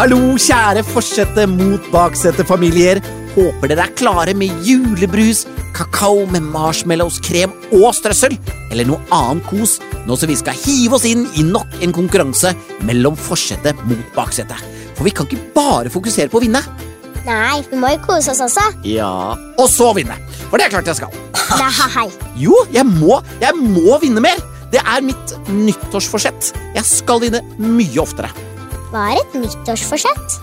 Hallo, kjære forsette mot baksetefamilier. Håper dere er klare med julebrus, kakao med marshmallows, krem og strøssel, eller noe annet kos, nå som vi skal hive oss inn i nok en konkurranse mellom forsete mot baksete. For vi kan ikke bare fokusere på å vinne. Nei, vi må jo kose oss også. Ja. Og så vinne. For det er klart jeg skal. Nei. Jo, jeg må, jeg må vinne mer. Det er mitt nyttårsforsett. Jeg skal vinne mye oftere. Hva er et nyttårsforsett?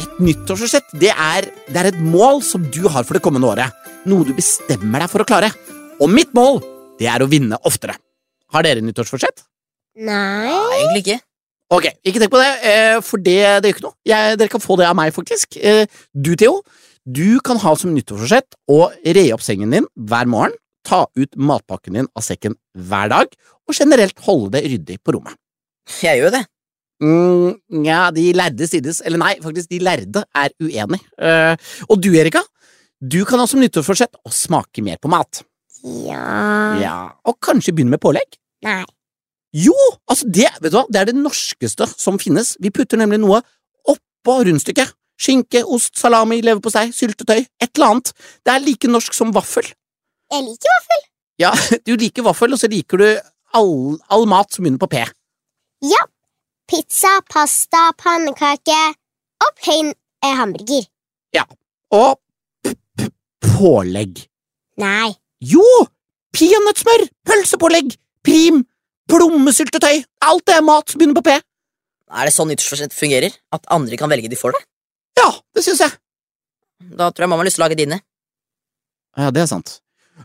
Et nyttårsforsett det er, det er et mål som du har for det kommende året. Noe du bestemmer deg for å klare. Og mitt mål det er å vinne oftere. Har dere nyttårsforsett? Nei Egentlig ikke. Ok, Ikke tenk på det, eh, for det, det gjør ikke noe. Jeg, dere kan få det av meg, faktisk. Eh, Du, Theo, du kan ha som nyttårsforsett å re opp sengen din hver morgen, ta ut matpakken din av sekken hver dag, og generelt holde det ryddig på rommet. Jeg gjør jo det. Mm, ja, de lærde strides. Eller nei, faktisk, de lærde er uenig. Eh, og du, Erika, du kan ha som nyttårsforsett å smake mer på mat. Ja Ja, Og kanskje begynne med pålegg? Nei. Jo! altså Det vet du hva, det er det norskeste som finnes. Vi putter nemlig noe oppå rundstykket. Skinke, ost, salami, leverpostei, syltetøy. Et eller annet. Det er like norsk som vaffel. Jeg liker jo Ja, Du liker vaffel, og så liker du all, all mat som begynner på P. pizza, pasta, pannekake og plain eh, hamburger. Og p- p- pålegg. Nei. Jo! Peanøttsmør, pølsepålegg, prim, plommesyltetøy. Alt det er mat som begynner på P. Er det sånn nyttårsforsett fungerer? At andre kan velge de for deg? Ja, det syns jeg. Da tror jeg mamma har lyst til å lage dine. Ja, det er sant.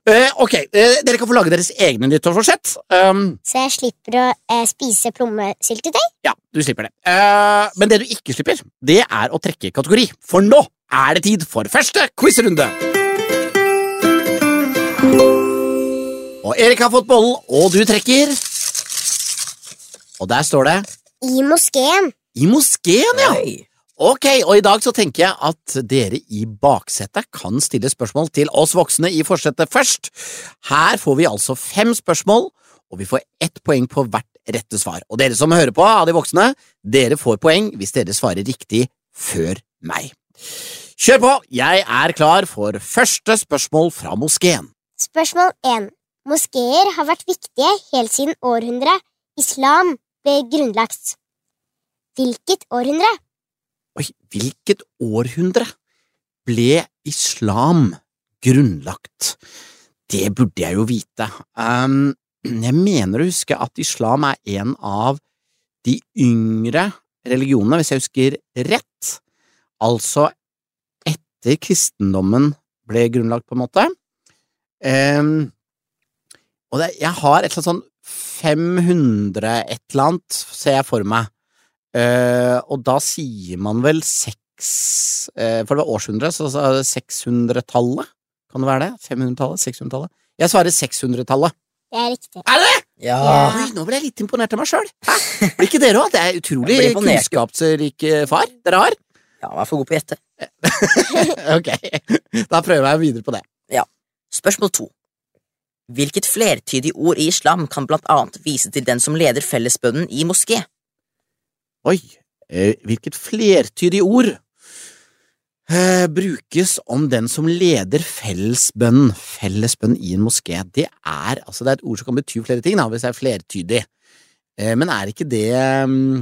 Eh, ok, eh, dere kan få lage deres egne nyttårsforsett. Um, Så jeg slipper å eh, spise plommesyltetøy? ja, du slipper det. Eh, men det du ikke slipper, det er å trekke kategori. For nå er det tid for første quizrunde. Og Erik har fått bollen, og du trekker. Og der står det I moskeen. I moskeen, ja! Oi. Ok, og i dag så tenker jeg at dere i baksetet kan stille spørsmål til oss voksne i forsetet først. Her får vi altså fem spørsmål, og vi får ett poeng på hvert rette svar. Og dere som hører på av de voksne, dere får poeng hvis dere svarer riktig før meg. Kjør på! Jeg er klar for første spørsmål fra moskeen. Spørsmål 1. Moskeer har vært viktige helt siden århundret islam ble grunnlagt. Hvilket århundre? Oi, hvilket århundre ble islam grunnlagt? Det burde jeg jo vite. Ehm, jeg mener å huske at islam er en av de yngre religionene, hvis jeg husker rett. Altså etter kristendommen ble grunnlagt, på en måte. Ehm, og det, jeg har et eller annet sånn 500 et eller annet, ser jeg for meg. Eh, og da sier man vel seks eh, For det var årshundre, så så er det 600-tallet? Kan det være det? 500-tallet? 600-tallet? Jeg svarer 600-tallet. Det er riktig. Ja. Ja. Oi, nå ble jeg litt imponert av meg sjøl. Blir ikke dere òg? Det er utrolig Jeg blir imponert. kunnskapsrik eh, far dere har. ja, vær for god på å gjette. ok, da prøver jeg videre på det. Spørsmål to. Hvilket flertydig ord i islam kan blant annet vise til den som leder fellesbønnen i moské? Oi, eh, hvilket flertydig ord eh, brukes om den som leder fellesbønn. Fellesbønn i en moské, det er, altså det er et ord som kan bety flere ting, da, hvis det er flertydig. Eh, men er ikke det mm,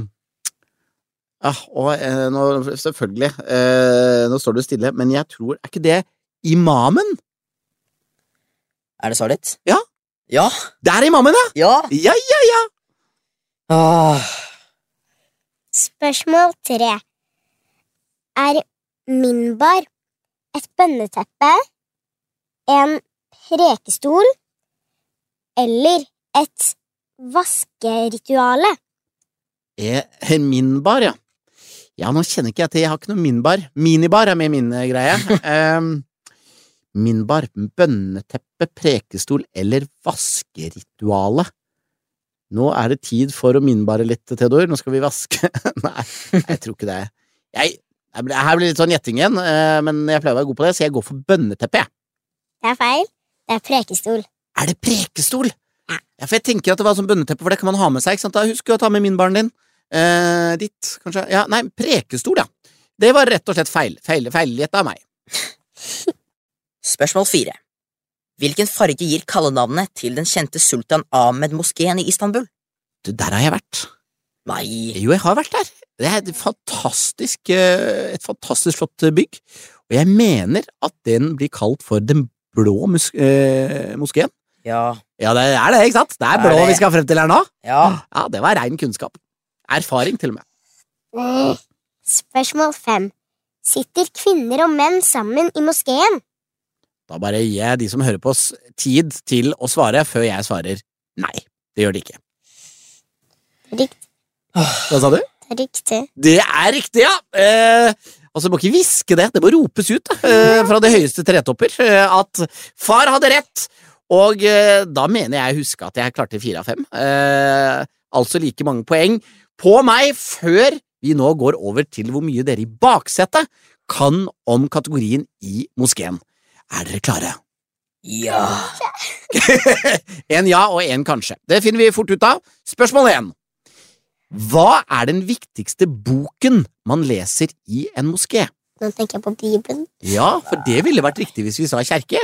ah, og, eh, nå, Selvfølgelig, eh, nå står du stille, men jeg tror Er ikke det imamen? Er det svaret ditt? Ja. Ja. Det er imamen, ja! Ja. Ah. Ja, ja, ja! Åh. Spørsmål 3. Er minbar et bønneteppe, en prekestol eller et vaskerituale? Eh, Minbar, ja. Ja, nå kjenner ikke jeg til Jeg har ikke noe minbar. Minibar er med min eh, greie. Ehm, minbar, bønneteppe, prekestol eller vaskerituale. Nå er det tid for å minbare litt, Theodor. Nå skal vi vaske. Nei, jeg tror ikke det. Jeg, jeg, ble- her blir det litt sånn gjetting igjen, eh, men jeg pleier å være god på det, så jeg går for bønneteppe, jeg. Det er feil. Det er prekestol. Er det prekestol? Ja, for jeg tenker at det var sånn bønneteppe, for det kan man ha med seg, ikke sant? Da husker du å ta med minbaren din. Eh, ditt, kanskje? Ja, nei, prekestol, ja. Det var rett og slett feil. Feil, feilgjett av meg. Spørsmål fire. Hvilken farge gir kallenavnet til den kjente sultan Ahmed-moskeen i Istanbul? Du, der har jeg vært. Nei, Jo, jeg har vært der. Det er et fantastisk, eh, et fantastisk flott bygg. Og jeg mener at den blir kalt for Den blå mus eh, moskeen. ja, Ja, det er det, ikke sant? Det er Det er blå det. Ah. vi skal frem til her nå. ja, Ja, det var rein kunnskap. Erfaring, til og med. Mm. Spørsmål fem. Sitter kvinner og menn sammen i moskeen? Da bare gir jeg de som hører på oss, tid til å svare før jeg svarer nei. Det gjør de ikke. Rikt, Hva sa du? riktig. Det er riktig, ja! Eh, altså, du må ikke hviske det. Det må ropes ut da, eh, fra de høyeste tretopper eh, at far hadde rett! Og eh, da mener jeg å huske at jeg klarte fire av fem. Eh, altså like mange poeng på meg før vi nå går over til hvor mye dere i baksetet kan om kategorien i moskeen. Er dere klare? ja. En ja og en kanskje. Det finner vi fort ut av. Spørsmål én. Hva er den viktigste boken man leser i en moské? Nå tenker jeg på Bibelen. Ja, for det ville vært riktig hvis vi sa kjerke.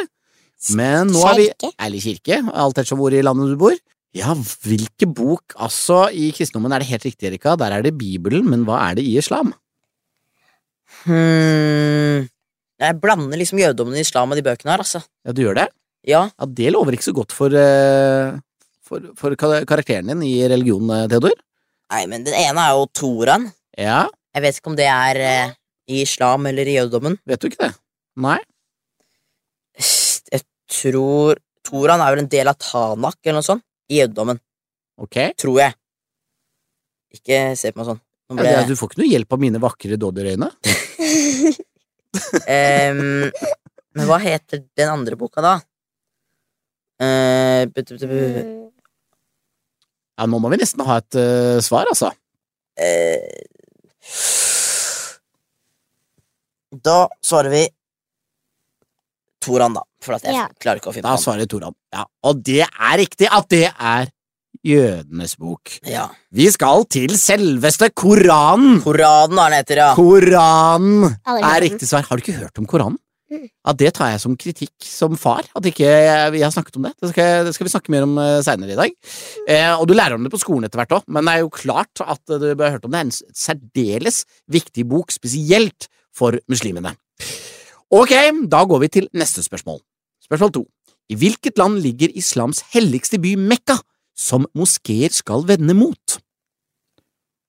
Men nå er vi Kjerke. Eller kirke, alt ettersom hvor i landet du bor. Ja, hvilke bok Altså, i kristendommen er det helt riktig, Erika. Der er det Bibelen, men hva er det i islam? Hmm. Jeg blander liksom jødedommen og islam og de bøkene her, altså. Ja, du gjør det? Ja, Ja, Det lover ikke så godt for, eh, for, for ka- karakteren din i religion, eh, Theodor. nei, men den ene er jo Toran. Ja, Jeg vet ikke om det er eh, i islam eller i jødedommen. vet du ikke det? Nei? Jeg tror Toran er vel en del av Tanak eller noe sånt. I jødedommen, Ok. tror jeg. Ikke se på meg sånn. Nå Ja, ble, det er- du får ikke noe hjelp av mine vakre dodderøyne. Ehm, men hva heter den andre boka, da? Eh, bu- bu- bu- bu- Mm. Ja, nå må vi nesten ha et eh, svar, altså. eh. Da svarer vi Toran, da. For at jeg Ja. klarer ikke å finne Da på svarer Toran. Ja, og det er riktig at det er jødenes bok. den. Ja. Vi skal til selveste Koranen! Koranen, hva den heter, ja. Koranen Alle er hører den. riktig svar. Har du ikke hørt om Koranen? Mm. Ja, Det tar jeg som kritikk som far, at ikke jeg, jeg har snakket om det. Det skal, det skal vi snakke mer om uh, seinere i dag. Mm. Eh, og du lærer om det på skolen etter hvert òg, men det er jo klart at eh, du bør ha hørt om det. Det er en s- særdeles viktig bok, spesielt for muslimene. Ok, da går vi til neste spørsmål. Spørsmål to. I hvilket land ligger islams helligste by Mekka, som moskeer skal vende mot?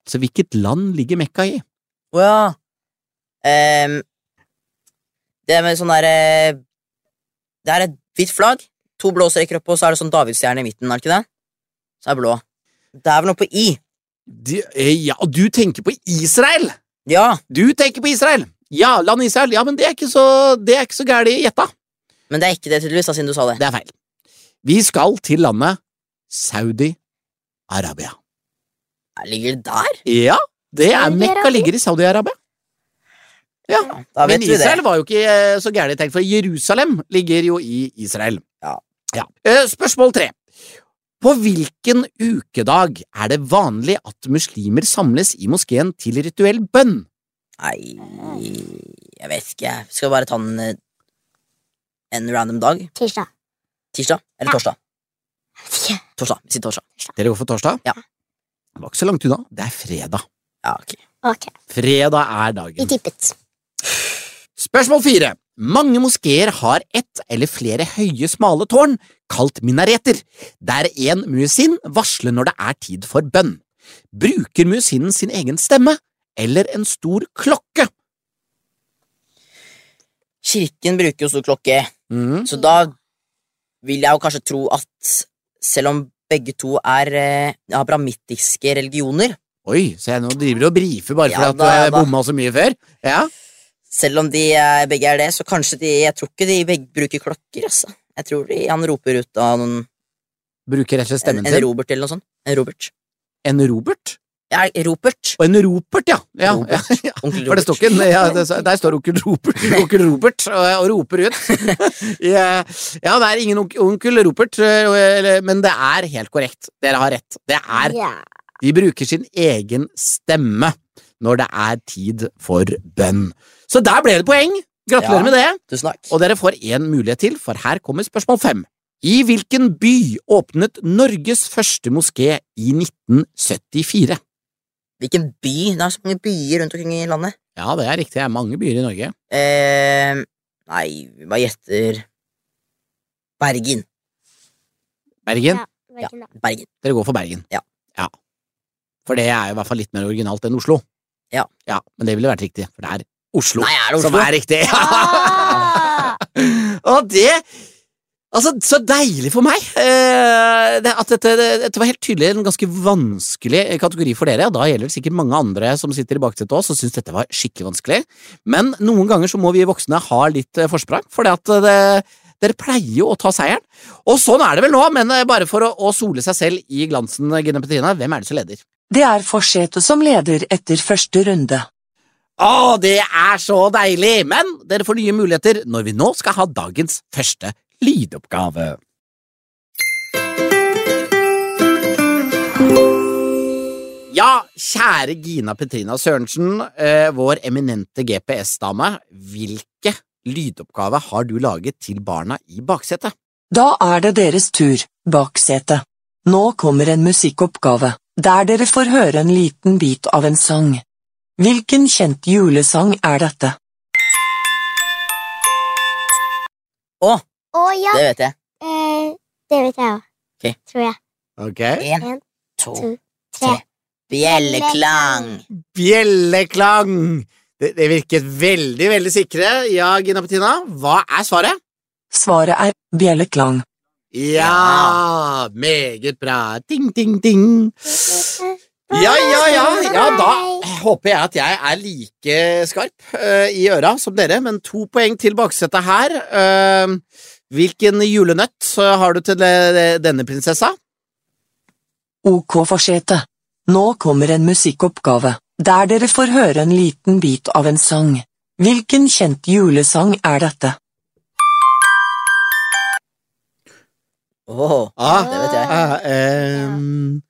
Så hvilket land ligger Mekka i? Å ja. Ehm, det med sånn derre Det er et hvitt flagg, to blå streker oppå, og så er det sånn davidsstjerne i midten, er det ikke det? Så er det blå. Det er vel noe på I. De, eh, ja, og du tenker på Israel! Ja. Du tenker på Israel! Ja, land Israel. Ja, men det er ikke så, det er ikke så gærent gjetta. Men det er ikke det, tydeligvis, da, siden du sa det. Det er feil. Vi skal til landet Saudi-Arabia. Jeg ligger det der? Ja, det er Saudi-Arabia? Mekka ligger i Saudi-Arabia. Ja, Da vet Men du det. Israel var jo ikke eh, så gærent tenkt, for Jerusalem ligger jo i Israel. Ja. Ja. Eh, Spørsmål tre. På hvilken ukedag er det vanlig at muslimer samles i moskeen til rituell bønn? Nei Jeg vet ikke. jeg. Skal vi bare ta den eh, en random dag? Tirsdag. Tirsdag? Eller torsdag? Jeg vet ikke. Torsdag. Vi sier torsdag. Dere går for torsdag? Ja. Det var ikke så langt unna. Det er fredag. Ja, ok. Ok, Fredag er vi dagen. tippet. Spørsmål fire. Mange moskeer har ett eller flere høye, smale tårn, kalt minareter, der en muezzin varsler når det er tid for bønn. Bruker muezzinen sin egen stemme eller en stor klokke? Kirken bruker jo stor klokke, Mhm. så da vil jeg jo kanskje tro at selv om begge to er eh, abramittiske religioner, Oi, se nå driver du og brifer bare Ja fordi at du da, ja har da. bomma så mye før. Ja. selv om de eh, begge er det, så kanskje de Jeg tror ikke de begge bruker klokker, altså. Jeg tror de, han roper ut av noen, Bruker rett og slett en, stemmen en sin. Robert eller noe sånt. En Robert. En Robert? Ja, Robert. Og en Ropert, ja. ja. Robert. ja. Onkel For det Robert. står ikke en, ja, det, Der står onkel Robert, onkel Robert og, og roper ut. ja, ja, det er ingen onk- onkel Robert, eh, eller- men det er helt korrekt. Dere har rett. Det er Ja. De bruker sin egen stemme når det er tid for bønn. Så der ble det poeng! Gratulerer Ja. med det. Tusen takk. Og dere får én mulighet til, for her kommer spørsmål fem. I hvilken by åpnet Norges første moské i 1974? Hvilken by? Det er så mange byer rundt omkring i landet. Ja, det er riktig. Det er mange byer i Norge. Eh, nei, vi bare gjetter Bergen. Bergen. Ja. Bergen, da. Bergen. Dere går for Bergen. Ja. ja. For det er jo i hvert fall litt mer originalt enn Oslo. Ja. ja men det ville vært riktig, for det er Oslo, Nei, er det som Oslo? er riktig. Ah! Og det Altså, så deilig for meg eh, det, at dette, det, dette var helt tydelig en ganske vanskelig kategori for dere, og da gjelder det sikkert mange andre som sitter i baksetet også, og syns dette var skikkelig vanskelig. Men noen ganger så må vi voksne ha litt eh, forsprang, for det, dere pleier jo å ta seieren. Og sånn er det vel nå, men eh, bare for å, å sole seg selv i glansen, eh, Gine Petrina, hvem er det som leder? Det er Forsete som leder etter første runde. Å, det er så deilig! Men dere får nye muligheter når vi nå skal ha dagens første lydoppgave. Ja, kjære Gina Petrina Sørensen, eh, vår eminente GPS-dame. Hvilke lydoppgave har du laget til barna i baksetet? Da er det deres tur, baksete. Nå kommer en musikkoppgave, der dere får høre en liten bit av en sang. Hvilken kjent julesang er dette? Å, Å ja, det vet jeg. eh, det vet jeg òg. Ok. Tror jeg. Ok. En, En, to, to, tre. tre. Bjelleklang. Bjelleklang! Det, det virket veldig, veldig sikre. Ja, Gina Petrina, hva er svaret? Svaret er bjelleklang. Ja, meget bra. Ding, ding, ding. Ja, ja, ja. ja da håper jeg at jeg er like skarp eh, i øra som dere, men to poeng til baksetet her. Eh, hvilken julenøtt eh, har du til eh, denne prinsessa? Ok, Forsete. Nå kommer en musikkoppgave, der dere får høre en liten bit av en sang. Hvilken kjent julesang er dette? Å, Ah, det vet jeg. Ah, um,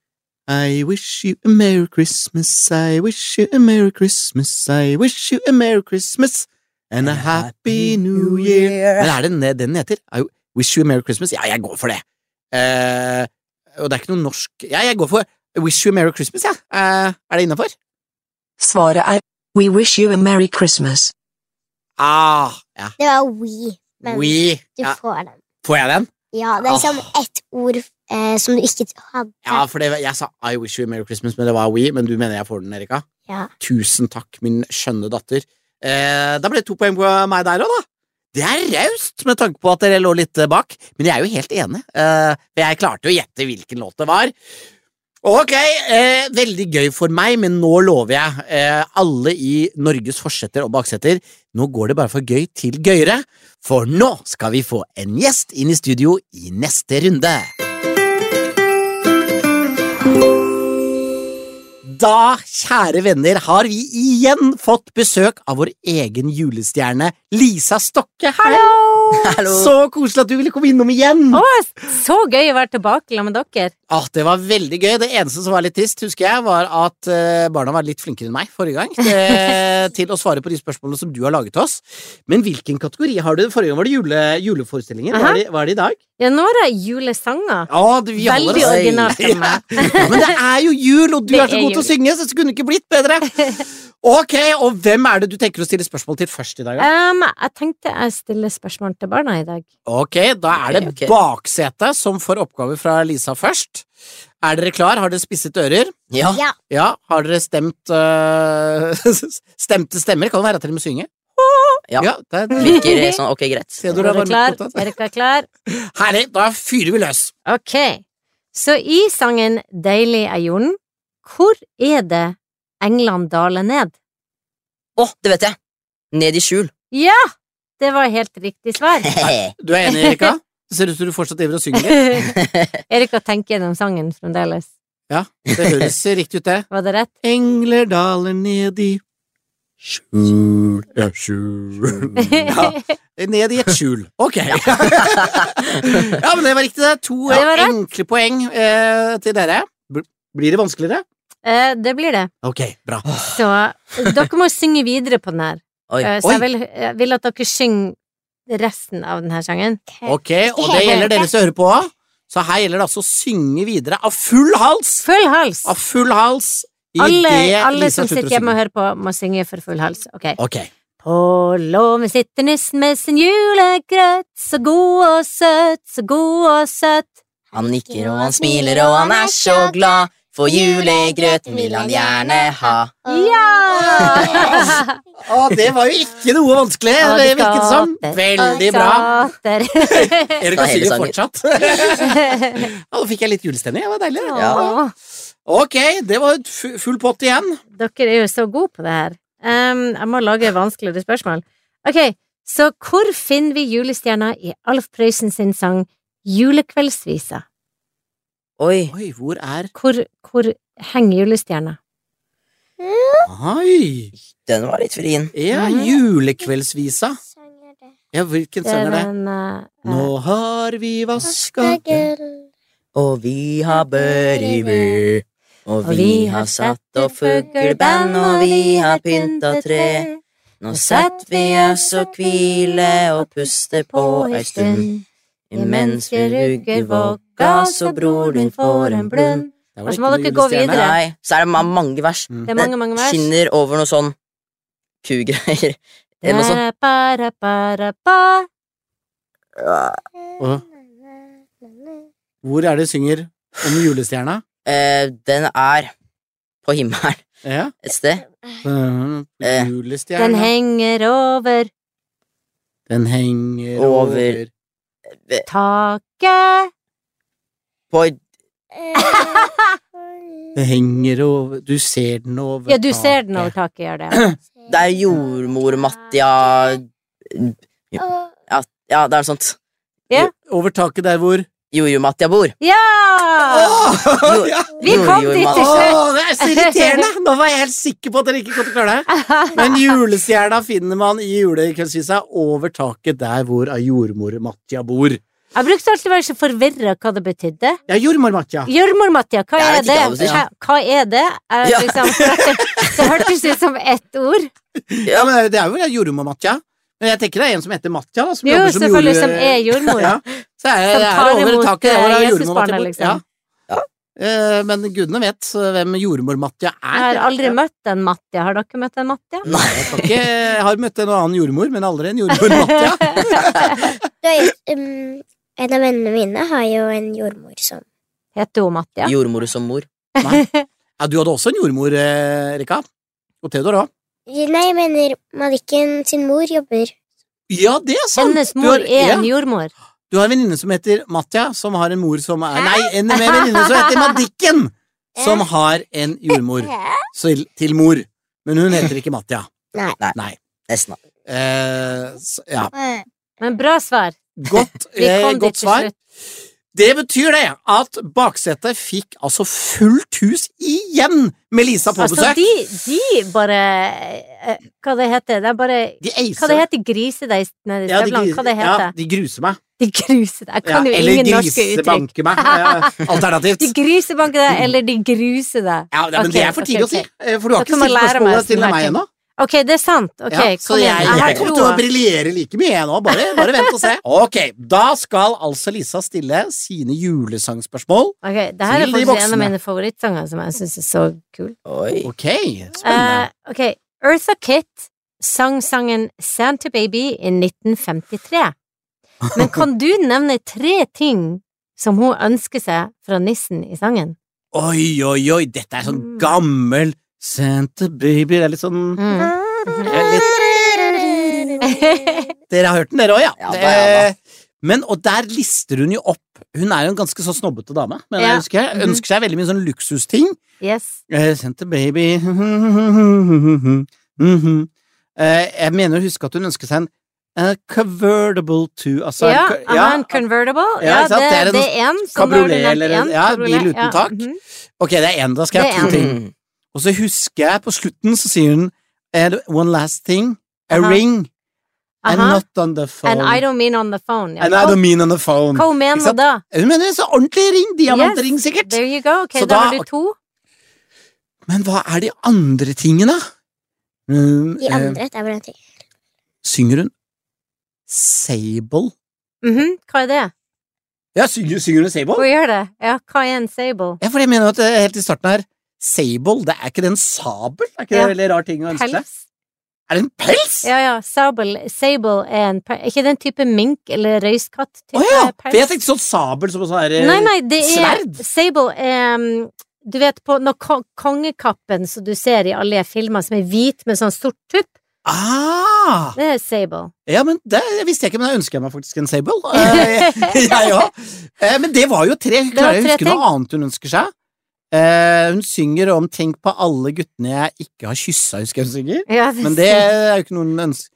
I wish you a merry Christmas, I wish you a merry Christmas, I wish you a merry Christmas and a happy new year. Men er det den den heter? I wish you a merry Christmas? Ja, jeg går for det. Eh, og det er ikke noe norsk Ja, jeg går for I wish you a merry Christmas, jeg. Eh, er det innafor? Svaret er We wish you a merry Christmas. Ah, ja. Det var we, men We. du Ja, får den. får jeg den? Ja, det er liksom Ah. ett ord eh, som du ikke hadde. Ja, for det, var- jeg sa I wish you a merry Christmas, men det var we. Men du mener jeg får den, Erika? Ja. Tusen takk, min skjønne datter. Eh, da ble det to poeng på meg der òg, da. Det er raust, med tanke på at dere lå litt eh, bak. Men jeg er jo helt enig, eh, for jeg klarte jo å gjette hvilken låt det var. Ok, eh, veldig gøy for meg, men nå lover jeg eh, alle i Norges forsetter og baksetter, nå går det bare for gøy til gøyere, for nå skal vi få en gjest inn i studio i neste runde. Da, kjære venner, har vi igjen fått besøk av vår egen julestjerne Lisa Stokke. Hallo! Hallo. Så koselig at du ville komme innom igjen. Å, så gøy å være tilbake sammen med dere. Ah, det var veldig gøy. Det eneste som var litt trist, husker jeg, var at eh, barna var litt flinkere enn meg forrige gang eh, til å svare på de spørsmålene som du har laget til oss. Men hvilken kategori har du? Forrige gang var det jule, juleforestillinger. Hva er, det, hva er det i dag? Ja, nå er det julesanger. Ja, det, vi holder Veldig oss- originalt av meg. Ja, men det er jo jul, og du Det er så er god til å jul. synge, så det kunne ikke blitt bedre. Ok, og hvem er det du tenker å stille spørsmål til først i dag? da? Um, jeg tenkte jeg stiller spørsmål til barna i dag. Ok, da er det Ok, ok. baksetet som får oppgave fra Lisa først. Er dere klar? Har dere spisset ører? Ja. Ja. Ja, har dere stemt øh, Stemte stemmer? Kan det være at dere må synge? Ja. det er Virker sånn. Ok, greit. Se, du har Er dere varmet klar? potet. Er dere klar? Herlig, da fyrer vi løs. Ok. Så i sangen Deilig er jorden, hvor er det England daler ned? Å, det vet jeg. Ned i skjul. Ja! Det var helt riktig svar. Du er enig, Erika? Det ser ut som du fortsatt driver og synger litt. Erika tenker gjennom sangen fremdeles. Ja, det høres riktig ut, det. Var det rett? Engler daler ned i Skjul Ja, skjul Eh. ja. Ned i et skjul. Ok. ja, men det var riktig, det. To Ja, det var rett. enkle poeng eh, til dere. Bl- Blir det vanskeligere? Eh, det blir det. Ok, bra. Så dere må synge videre på den her. Oi. Eh, så jeg vil, jeg vil at dere synger resten av denne sangen. Ok, Og det gjelder dere som hører på. Så her gjelder det altså å synge videre av full hals! Full hals! Av full hals! i Alle, Ah, det alle Lisa som slutter å sitter hjemme og synge. hører på, må synge for full hals. Ok. Ok. På låven sitter nissen med sin julegrøt, så god og søt, så god og søt. Han nikker og han smiler og han er så glad, for julegrøten vil han gjerne ha. Ah, Ja! Å, det var jo ikke noe vanskelig, Og det det virket som. skater, Veldig bra. Teater. Erika Ta hele synger sangen. fortsatt. ja, da fikk jeg litt julestemning. Det var deilig. Åh, Ok, det var et fu- full pott igjen. Dere er jo så gode på det her. Ehm, jeg må lage vanskeligere spørsmål. Ok, så hvor finner vi julestjerna i Alf Prøysen sin sang Julekveldsvisa? Oi. Oi, hvor er Hvor, hvor henger julestjerna? Oi! Den var litt vrien. Ja, Mhm. julekveldsvisa. Sang er det. Ja, hvilken Det sang er er det? den eh, Nå har vi vaska Og vi har børibu. Og vi har satt opp fugleband, og vi har pynta tre. Nå setter vi oss og hvile og puster på ei stund. Imens vi rugger vågga, så bror din får en blund. Der var Og det så må ikke noe dere gå julestjerne. videre. Nei, så er det ma- mange vers. Mm. Det er mange, mange vers. Skinner over noe sånn kugreier. Eller noe sånt. Para, para, para, pa. Hvor er det synger om julestjerna? Eh, den er på himmelen Ja. et sted. Mhm, Eh. Julestjerna Den henger over Den henger Over. over taket. På Den henger over Du ser den over Ja, du ser den over taket. taket, gjør det. Det er jordmor-Mattia Ja, det er noe sånt. Ja. Over taket der hvor Jojo-Mattia bor. Ja! Åh, ja. Vi kom dit til Jojo-Mattia. slutt! Åh, det er så irriterende! Nå var jeg helt sikker på at dere ikke kom til å klare det. Men julestjerna finner man i julekveldsvisa over taket der hvor av jordmor Matja bor. Jeg brukte alltid å være så forvirra hva det betydde. Ja, jordmor Matja. Jørmor-Mattia, hva Jeg er vet det? ikke hva det betyr. Hæ, Hva er det? Jeg Ja. Liksom, det hørtes ut som ett ord. Ja, men det er jo jordmor Matja. Men jeg tenker det er en som heter Matja, da, som Jo, jobber som selvfølgelig, som er jordmor. Ja. Så er, Som det er tar over imot, taket der hvor eh, av jordmor Jesusbarnet, Matja bor. liksom. Ja. Eh, Men gudene vet eh, hvem jordmor Matja er. Jeg har aldri møtt en Mattia. Har dere møtt en Mattia? Nei. Jeg kan ikke, jeg har møtt en annen jordmor, men aldri en jordmor Matja. Du har jo- um, En av vennene mine har jo en jordmor som Heter hun Mattia? Jordmor som mor. Ja, du hadde også en jordmor, eh, Erika. Og Theodor òg. Nei, jeg mener Madikken sin mor jobber. Ja, det er sant! Hennes Du mor har- er ja. en jordmor. Du har en venninne som heter Matja, som har en mor som er Nei, en med en venninne som heter Madikken! Som har en jordmor til, til mor. Men hun heter ikke Matja. Nesten. Eh, så, ja. Men bra svar. Godt, Vi eh, kom dit godt til svar. slutt. Det betyr det at baksetet fikk altså fullt hus igjen med Lisa på Altså, besøk. de, de bare eh, Hva det heter det? er Bare De Hva det eiser. heter grisedeis nede i Ja, de Stevland? Hva det gri- ja, heter? de gruser meg. De gruser deg. Jeg kan Ja, jo eller ingen norske uttrykk. grisebanker meg. Ja, Alternativt. De grisebanker deg, eller de gruser deg. Ja, nei, men Ok, det er for tidlig ok, ok. å si, eh, for du har Da ikke kan man stilt lære meg spørsmålet til sånne her meg ting. ennå. Ok, det er sant. Ok, Ja, så kom jeg, igjen. Jeg har jeg kommer til å troa. briljere like mye jeg nå, bare, bare vent og se. Ok, da skal altså Lisa stille sine julesangspørsmål. Ok, det her Til er de faktisk en voksne. av mine favorittsanger som jeg syns er så kul. Oi. Ok, spennende. Eh, ok, Eartha Kitt sang sangen Santa Baby i 1953. Men kan du nevne tre ting som hun ønsker seg fra nissen i sangen? Oi, oi, oi, dette er sånn Mm. gammel Santa baby, det er litt sånn Mm. det er litt, Dere har hørt den, dere òg, ja. Ja, da, ja, Det- Men, og der lister hun jo opp Hun er jo en ganske så snobbete dame, men Ja. jeg husker jeg Mhm. ønsker seg veldig mye sånn luksusting. Yes. Eh, Santa baby Mhm. Eh, Jeg mener å huske at hun ønsket seg en eh, convertible to altså, ja, en co- aha, en convertible. Ja, Ja, ikke det, sant? Det er en det er en som cabriolet har du nevnt, eller en- en ja, cabriolet, bil uten tak. mhm. Ok, det er én. Da skal jeg Det ha er to ting. Mm. Og så husker jeg på slutten, så sier hun and One last thing. A Aha. ring. And Aha. not on the phone. And I don't mean on the phone. Ja. And I Hva- don't mean on the phone. Hva hun mener Ikke sant? da? Hun mener så ordentlig ring. Diamantring, sikkert. There you go. Ok, Så da da- har du to. Men hva er de andre tingene? Mm, De eh, andre det er vel en ting. synger hun Sable? Mhm, Hva er det? Ja, synger, synger hun Sable? Hun gjør det. Ja, hva er en sable? Ja, for jeg mener at eh, helt i starten her Sable, det er ikke det en sabel? Er ikke det Ja. en veldig rar ting å ønske seg? Pels? Er det en pels?! Ja, ja. Sable, sable er en pe- Er ikke den type mink eller røyskatt-type Å ja! For jeg pels? tenkte sånn sabel som sånn her eh, Nei, nei, det er sverd. Sable er um, Du vet på når ko- kongekappen som du ser i alle filmer, som er hvit med sånn sort tupp, Ah! det er Sable. Ja, men det visste jeg ikke, men da ønsker jeg meg faktisk en sable. Eh, jeg òg. Eh, Men det var jo tre. var Klarer jeg å tre huske noe annet hun ønsker seg? Eh, hun synger om 'Tenk på alle guttene jeg ikke har kyssa', husker jeg hun synger. Ja, Men det er jo ikke noe hun ønsker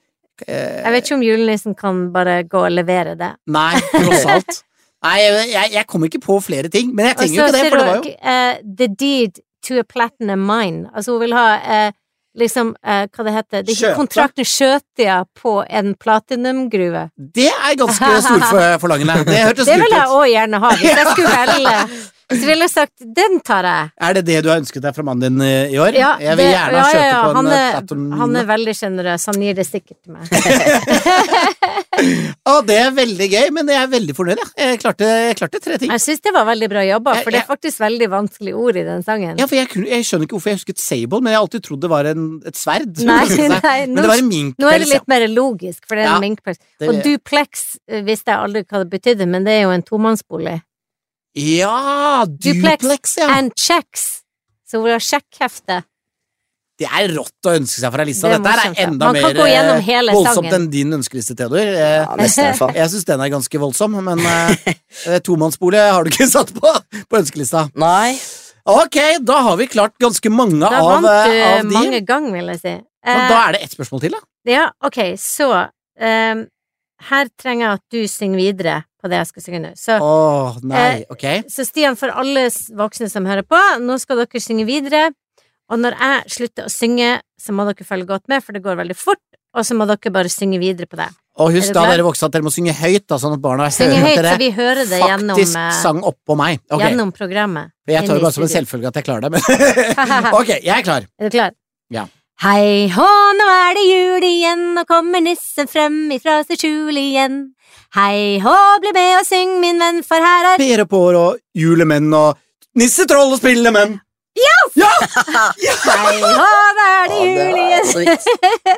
Eh, Jeg vet ikke om julenissen kan bare gå og levere det. Nei, tross alt. Nei, jeg, jeg kom ikke på flere ting, men jeg Og trenger jo så ikke det, sier for det var hun jo eh, The deed to a platinum mine. Altså, hun vil ha eh, liksom eh, Hva det heter det? er Skjøte. ikke Kontrakten Skjøtia på en platinumgruve. Det er ganske storforlangende. Det hørtes Det vil lurt jeg ut. òg gjerne ha, hvis jeg skulle velge. Så ville jeg sagt den tar jeg. Er det det du har ønsket deg fra mannen din eh, i år? Ja, jeg det- vil gjerne ha ja, ja, kjøttet ja, på en han eh, er- platinum. Han er veldig sjenerøs, han gir det sikkert til meg. Å, det er veldig gøy, men jeg er veldig fornøyd, jeg. Jeg klarte, jeg klarte tre ting. Jeg syns det var veldig bra jobba, for det Jeg- er faktisk veldig vanskelig ord i den sangen. Ja, for jeg, kunne, jeg skjønner ikke hvorfor jeg husket sable, men jeg har alltid trodd det var en, et sverd. som Nei, ønsket seg. nei, men det var nå, en nå minkpels. er det ja. litt mer logisk, for det er Ja, en minkpels. det- Og duplex eh, visste jeg aldri hva det betydde, men det er jo en tomannsbolig. Ja, Duplex duplex, ja. And checks! Så hun har sjekkhefte. Det er rått å ønske seg fra lista. Det er Dette her morsomt, er ja. enda Man kan mer gå eh, gjennom hele voldsomt sangen. enn din ønskeliste, Theodor. Eh, Ja, nesten i hvert fall. Jeg syns den er ganske voldsom, men eh, tomannsbolig har du ikke satt på på ønskelista. Nei. Ok, da har vi klart ganske mange Da av, vant eh, du av de. mange ganger, vil jeg si. Men Eh, da er det ett spørsmål til, da. Ja, ok, så ehm, Her trenger jeg at du synger videre på det jeg skal synge nå. Så, Å, Eh, nei, ok. så Stian, for alle s- voksne som hører på, nå skal dere synge videre. Og når jeg slutter å synge, så må dere følge godt med, for det går veldig fort. Og så må dere bare synge videre på det. Og er husk du da, klar? dere voksne, at dere må synge høyt, da, sånn at barna Synge hører høyt, så at vi hører det dere gjennom, faktisk eh, sang oppå meg. Ok, gjennom programmet. For jeg tar inne jo i bare som en studio. selvfølge at jeg klarer det, men Ok, jeg er klar. Er du klar? Ja. Hei hå, nå er det jul igjen, og kommer nissen frem ifra sitt skjul igjen. Hei hå, bli med og syng, min venn, for her er Bærepår og julemenn og nissetroll og spillemenn. Hei hå, nå er det Ja, det altså, jul var igjen. så vidt.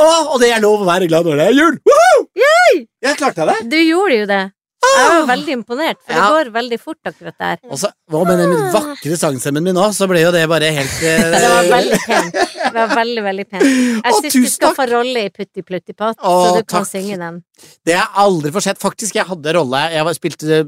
Å, og det er lov å være glad når det er jul! Woohoo! Jeg klarte det. Du gjorde jo det. Jeg var veldig imponert, for Ja. det går veldig fort akkurat der. Og så, hva med den vakre sangstemmen min nå, så ble jo det bare helt eh, Det var veldig pent. Det var veldig, veldig pent. Jeg Å, syns du tusen skal takk. få rolle i Putti Plutti Patt, Å, så du kan takk. synge den. Det er aldri for sent. Faktisk, jeg hadde rolle Jeg, var, spilte,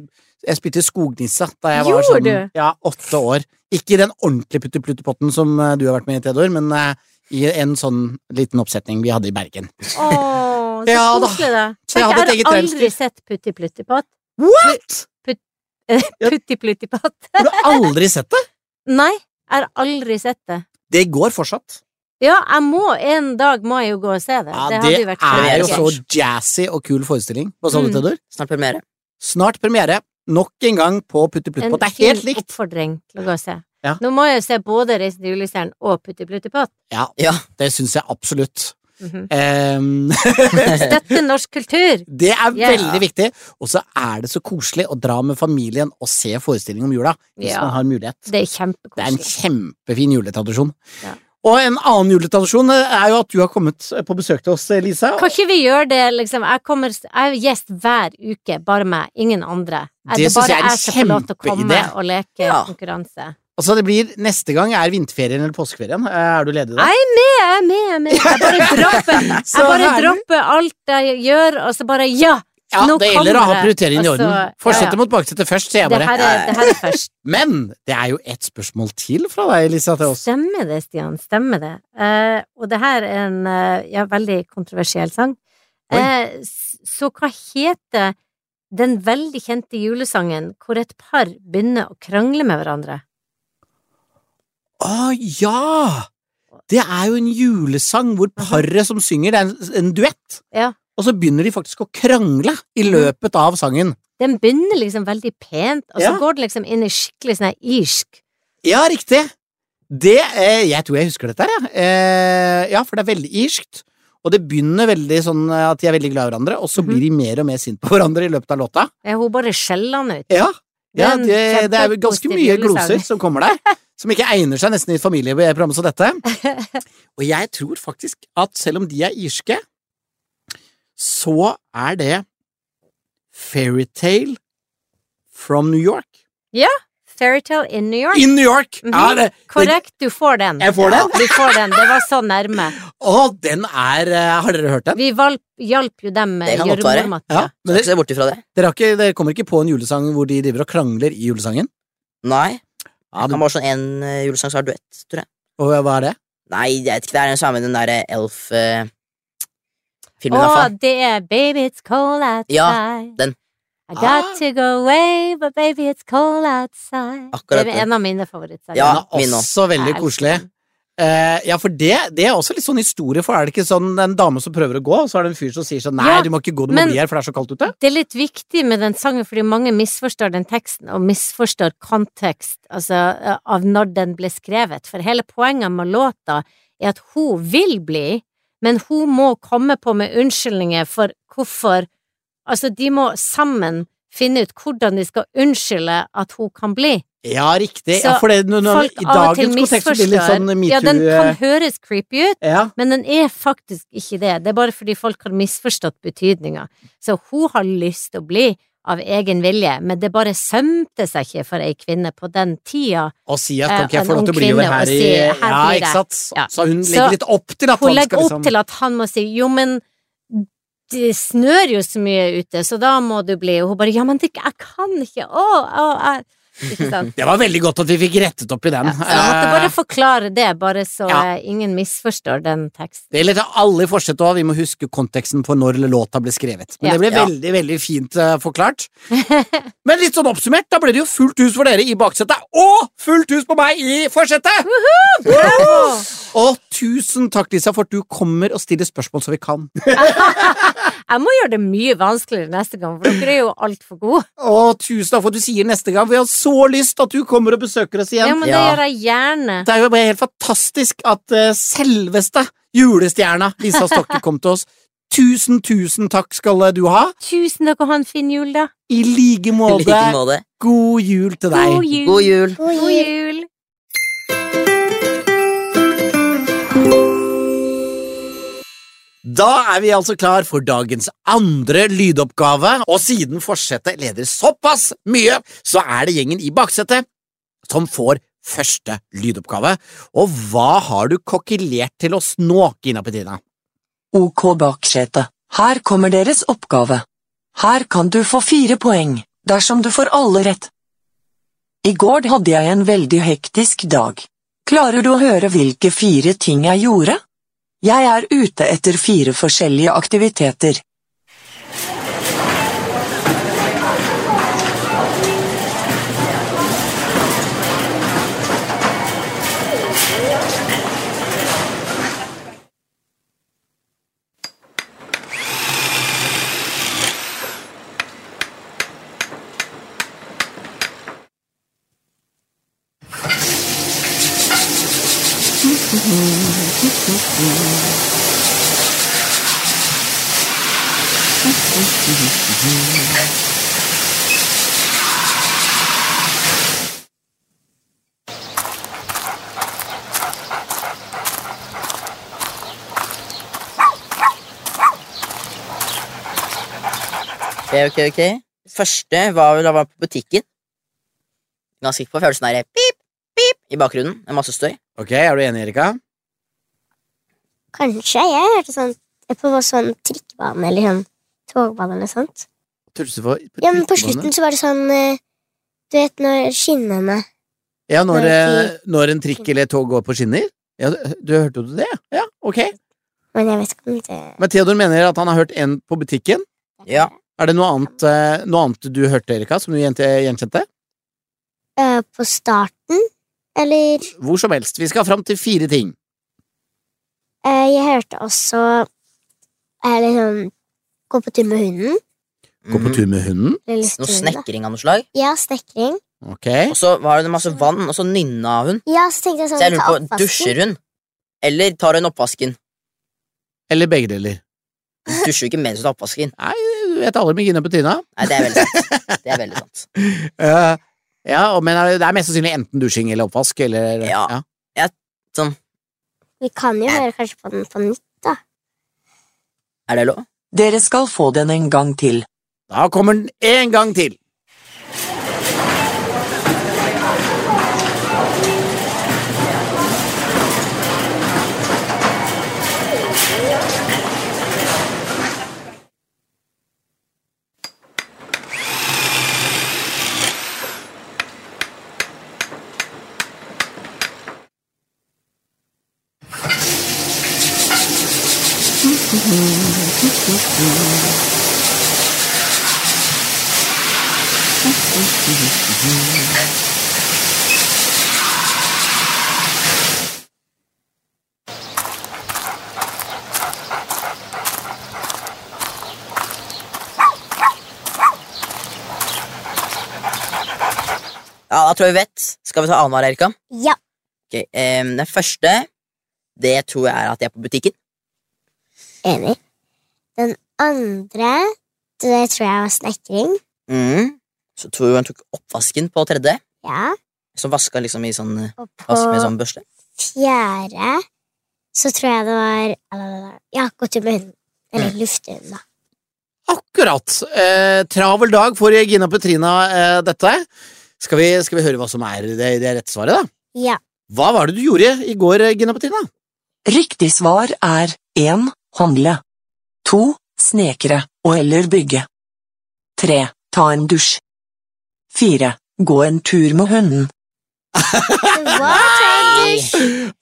jeg spilte skognissa da jeg var Gjorde sånn du? ja, åtte år. Ikke i den ordentlige putteplutteplotten som eh, du har vært med i, Theodor, men eh, i en sånn liten oppsetning vi hadde i Bergen. Å, så Ja da. koselig, da. Så jeg hadde et Tenk, eget jeg har aldri reinsdyr. sett Putti Plutti Patt. What?! Ja. Putti Plutti Patt. Har du aldri sett det? Nei, jeg har aldri sett det. Det går fortsatt. Ja, jeg må en dag må jeg jo gå og se det. Ja, det det hadde jo vært er jo kjempegøy. så jazzy og kul forestilling. Hva sa du, Mm. Theodor? Snart premiere. Snart premiere. Nok en gang på En Puttepluttepott. Det er fin helt likt! oppfordring til å gå og se. Ja. Nå må jeg jo se både Reisen til julestjernen og Putti Plutti Patt. Ja, Ja. det syns jeg absolutt. Mhm. Em, Støtte norsk kultur! Det er Ja. veldig viktig, og så er det så koselig å dra med familien og se forestilling om jula, hvis Ja. man har mulighet. Det er Det er en kjempekoselig. kjempefin juletradisjon. Ja. Og en annen juletradisjon eh, er jo at du har kommet på besøk til oss, Lisa. Kan ikke vi gjøre det, liksom? Jeg, kommer, jeg er gjest hver uke, bare meg. Ingen andre. Er Det Det er synes bare jeg er en jeg som får lov til å komme kjempeidé. og leke Ja. konkurranse. Altså, det blir neste gang er vinterferien eller påskeferien. Eh, Er du ledig da? Nei. Jeg er med, jeg er med. Jeg bare dropper, Så jeg bare herlig. dropper alt jeg gjør, og så bare ja! Ja, nå det gjelder å ha kommer det. prioriteringen i Altså, orden. ja, Fortsette ja. mot baksetet først, sier jeg Det bare. her er, det her er først. Men det er jo ett spørsmål til fra deg, Lisa, til oss. Stemmer det, Stian. Stemmer det. Eh, og det her er en eh, ja, veldig kontroversiell sang. Oi. Eh, s- så hva heter den veldig kjente julesangen hvor et par begynner å krangle med hverandre? Å Ah, ja! Det er jo en julesang hvor paret som synger, det er en, en duett. Ja. Mhm. Og så begynner de faktisk å krangle i løpet av sangen. Den begynner liksom veldig pent, og så Ja. går den liksom inn i skikkelig sånn her irsk Ja, riktig! Det eh, Jeg tror jeg husker dette her, jeg. Eh, ja, for det er veldig irskt. Og det begynner veldig sånn eh, at de er veldig glad i hverandre, og så Mhm. blir de mer og mer sinte på hverandre i løpet av låta. Er hun bare skjeller han ut? Ja, Det er ja en det, det er jo ganske kjempepositiv mye julesang. gloser som kommer der, som ikke egner seg nesten i et familieprogram som dette. Og jeg tror faktisk at selv om de er irske, så er det Fairytale from New York. Fairytale in New York. In New York! Ja, Mhm. det, det, Korrekt, du får den. Jeg får den? Ja, du får den. Det var så nærme. å, den er eh, Har dere hørt den? Vi valp, hjalp jo dem med Det kan godt være. gjørmematta. Ja, men Skal ikke dere, se bort ifra det. dere, har ikke, dere kommer ikke på en julesang hvor de driver og krangler i julesangen? Nei. Ja, Det du, kan bare sånn en eh, julesang som er duett, tror jeg. og hva er det? Nei, jeg vet ikke. Det er den samme den derre Elf-filmen, i hvert Å, fall. det er Baby It's Cold Outside. Ja, den. I got Ah. to go away, but baby it's cold outside. Akkurat det er den. en av mine favorittsanger. Ja, min den er nå. også veldig Jeg elsker koselig. den. Eh, ja, for det, det er også litt sånn historie, for er det ikke sånn en dame som prøver å gå, og så er det en fyr som sier sånn nei, Ja, du må ikke gå, du må men- bli her, for det er så kaldt ute? Det er litt viktig med den sangen, fordi mange misforstår den teksten, og misforstår kontekst, altså eh, av når den ble skrevet. For hele poenget med låta er at hun vil bli, men hun må komme på med unnskyldninger for hvorfor Altså, de må sammen finne ut hvordan de skal unnskylde at hun kan bli. Ja, riktig. Så ja, for det, når, når, Folk i av og til dagens kontekst så blir det litt sånn misforstår. metoo Ja, den kan eh, høres creepy ut, ja. men den er faktisk ikke det. Det er bare fordi folk har misforstått betydninga. Så hun har lyst til å bli av egen vilje, men det bare sømte seg ikke for ei kvinne på den tida. Og si at kan ikke Eh, jeg få en lov til å ung bli over kvinne, og her i si, Ja, her blir ikke det. sant? Ja. Så hun Så legger litt opp til at Hun han legger skal opp liksom til at han må si jo, men det snør jo så mye ute, så da må du bli Og hun bare ja, men det, jeg kan ikke, å, å, jeg Ikke sant. Det var veldig godt at vi fikk rettet opp i den. Ja, så jeg måtte bare Eh, forklare det, bare så Ja. eh, ingen misforstår den teksten. det gjelder til alle i Fortsett òg, vi må huske konteksten for når låta ble skrevet. Men det Ja. ble Ja. veldig, veldig fint eh, forklart. Men litt sånn oppsummert, da ble det jo fullt hus for dere i baksetet, og fullt hus på meg i forsetet! Bravo! Og tusen takk, Lisa, for at du kommer og stiller spørsmål så vi kan. Jeg må gjøre det mye vanskeligere neste gang, for dere er jo altfor gode. Og tusen takk for at du sier neste gang. Vi har så lyst at du kommer og besøker oss Ja, igjen. men det gjør Ja. jeg gjerne. Det er jo bare helt fantastisk at eh, selveste julestjerna Lisa Stokke kom til oss. Tusen, tusen takk skal eh, du ha. Tusen takk og ha en fin jul, da. I like I måte, like måte. god jul til deg. God jul. God jul. God God jul. jul. Da er vi altså klar for dagens andre lydoppgave, og siden forsetet leder såpass mye, så er det gjengen i baksetet som får første lydoppgave. Og hva har du kokkelert til oss nå, Gina Petrina? Ok baksete, her kommer deres oppgave. Her kan du få fire poeng, dersom du får alle rett. I går hadde jeg en veldig hektisk dag. Klarer du å høre hvilke fire ting jeg gjorde? Jeg er ute etter fire forskjellige aktiviteter. Ok, ok, ok. Første var vel da jeg var på butikken. Ganske sikker på, for jeg hørte sånn der pip, pip i bakgrunnen. En masse støy. Ok, er du enig, Erika? Kanskje jeg hørte sånn på sånn trikkebane eller sånn togbane eller sånt. Tulse for Ja, men på slutten så var det sånn eh, Du vet når skinnene Ja, når, eh, Når når en trikk eller et tog går på skinner? Ja, du, du hørte jo det? Ja, ok. Men jeg vet ikke om det Men Theodor mener at han har hørt en på butikken. Ja. Er det noe annet, eh, noe annet du hørte, Erika, som du gjen- gjenkjente? Eh, På starten, eller Hvor som helst. Vi skal fram til fire ting. eh, Jeg hørte også eh, liksom Gå på tur med hunden. Gå på Mhm. tur med hunden. Eller litt Noe hunden, da. snekring av noe slag. Ja, snekring. Ok. Og så var det masse vann, og så nynna hun. Ja, så tenkte jeg sånn Så jeg ta lurer på, oppvasken. dusjer hun? Eller tar hun oppvasken? Eller begge deler. Hun Dusjer jo ikke mens hun tar oppvasken. Nei, du vet alle med Gine på trynet. Nei, det er veldig sant. Det er veldig sant. Eh, ja, og- men det er mest sannsynlig enten dusjing eller oppvask, eller Ja. Vi kan jo høre kanskje på den på nytt. Er det lov? Dere skal få den en gang til. Da kommer den en gang til. Ja, da tror jeg vi vet. Skal vi ta annenhver, Erika? Ja. Ok, ehm, den første, det tror jeg er at jeg er på butikken. Enig. Den andre Det tror jeg var snekring. Mm. Så tror jeg hun tok oppvasken på tredje. Ja. Som vaska liksom i sånn eh, Og på vask med sånn børste. fjerde så tror jeg det var Ja, gå tur med hunden. Eller Mm. lufte hunden, da. Akkurat. Eh, travel dag for Gina Petrina, eh, dette. Skal vi, skal vi høre hva som er det, det rette svaret, da? Ja. Hva var det du gjorde i går, eh, Gina Petrina? Riktig svar er 1. Handle 2. Snekre og eller bygge 3. Ta en dusj 4. Gå en tur med hunden Det var traders.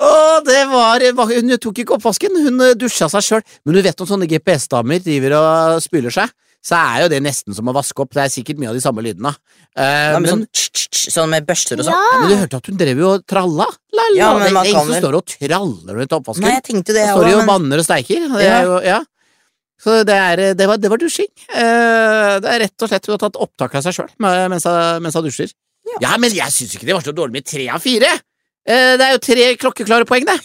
Å, det var Hun tok ikke oppvasken, hun eh, dusja seg sjøl. Men du vet om sånne GPS-damer driver og spyler seg, så er jo det nesten som å vaske opp. Det er sikkert mye av de samme lydene. Eh, Ja, med men, sånn, tsk, tsk, tsk, sånn med børster og sånn. Ja. ja, men du hørte at hun drev jo og tralla? La, la, Ja, men det, det man er kan ingen som vel- står og traller rundt oppvasken. Nei, jeg tenkte Da det, jeg står de også, og men- banner og steiker. Det Ja. er jo, ja. Så det, er, det, var, det var dusjing. Eh, det er rett og slett hun har tatt opptak av seg sjøl mens, hun- mens hun dusjer. Ja, men jeg syns ikke det var så dårlig med tre av fire! Eh, det er jo tre klokkeklare poeng, det.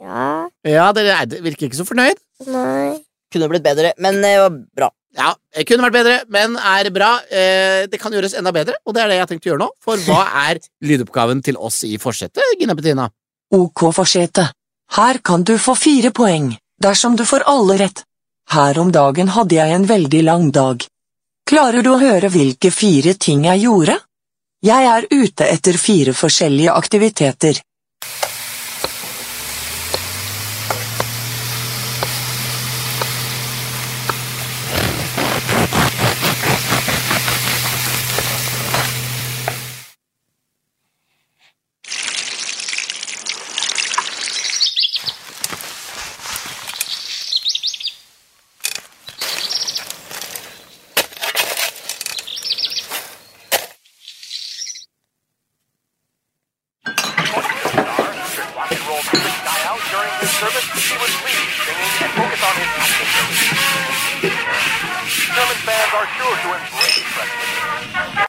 Ja. Ja, dere er, virker ikke så fornøyd. Nei. Kunne blitt bedre, men eh, det var bra. Ja, det kunne vært bedre, men er bra. Eh, det kan gjøres enda bedre, og det er det jeg har tenkt å gjøre nå. For hva er lydoppgaven til oss i forsetet, Gina Bettina? OK forsete Her kan du få 4 poeng dersom du får alle rett Her om dagen hadde jeg en veldig lang dag Klarer du å høre hvilke fire ting jeg gjorde? Jeg er ute etter fire forskjellige aktiviteter rock and roll music die out during his service, he would leave singing and focus on his acting. German fans are sure to embrace wrestling.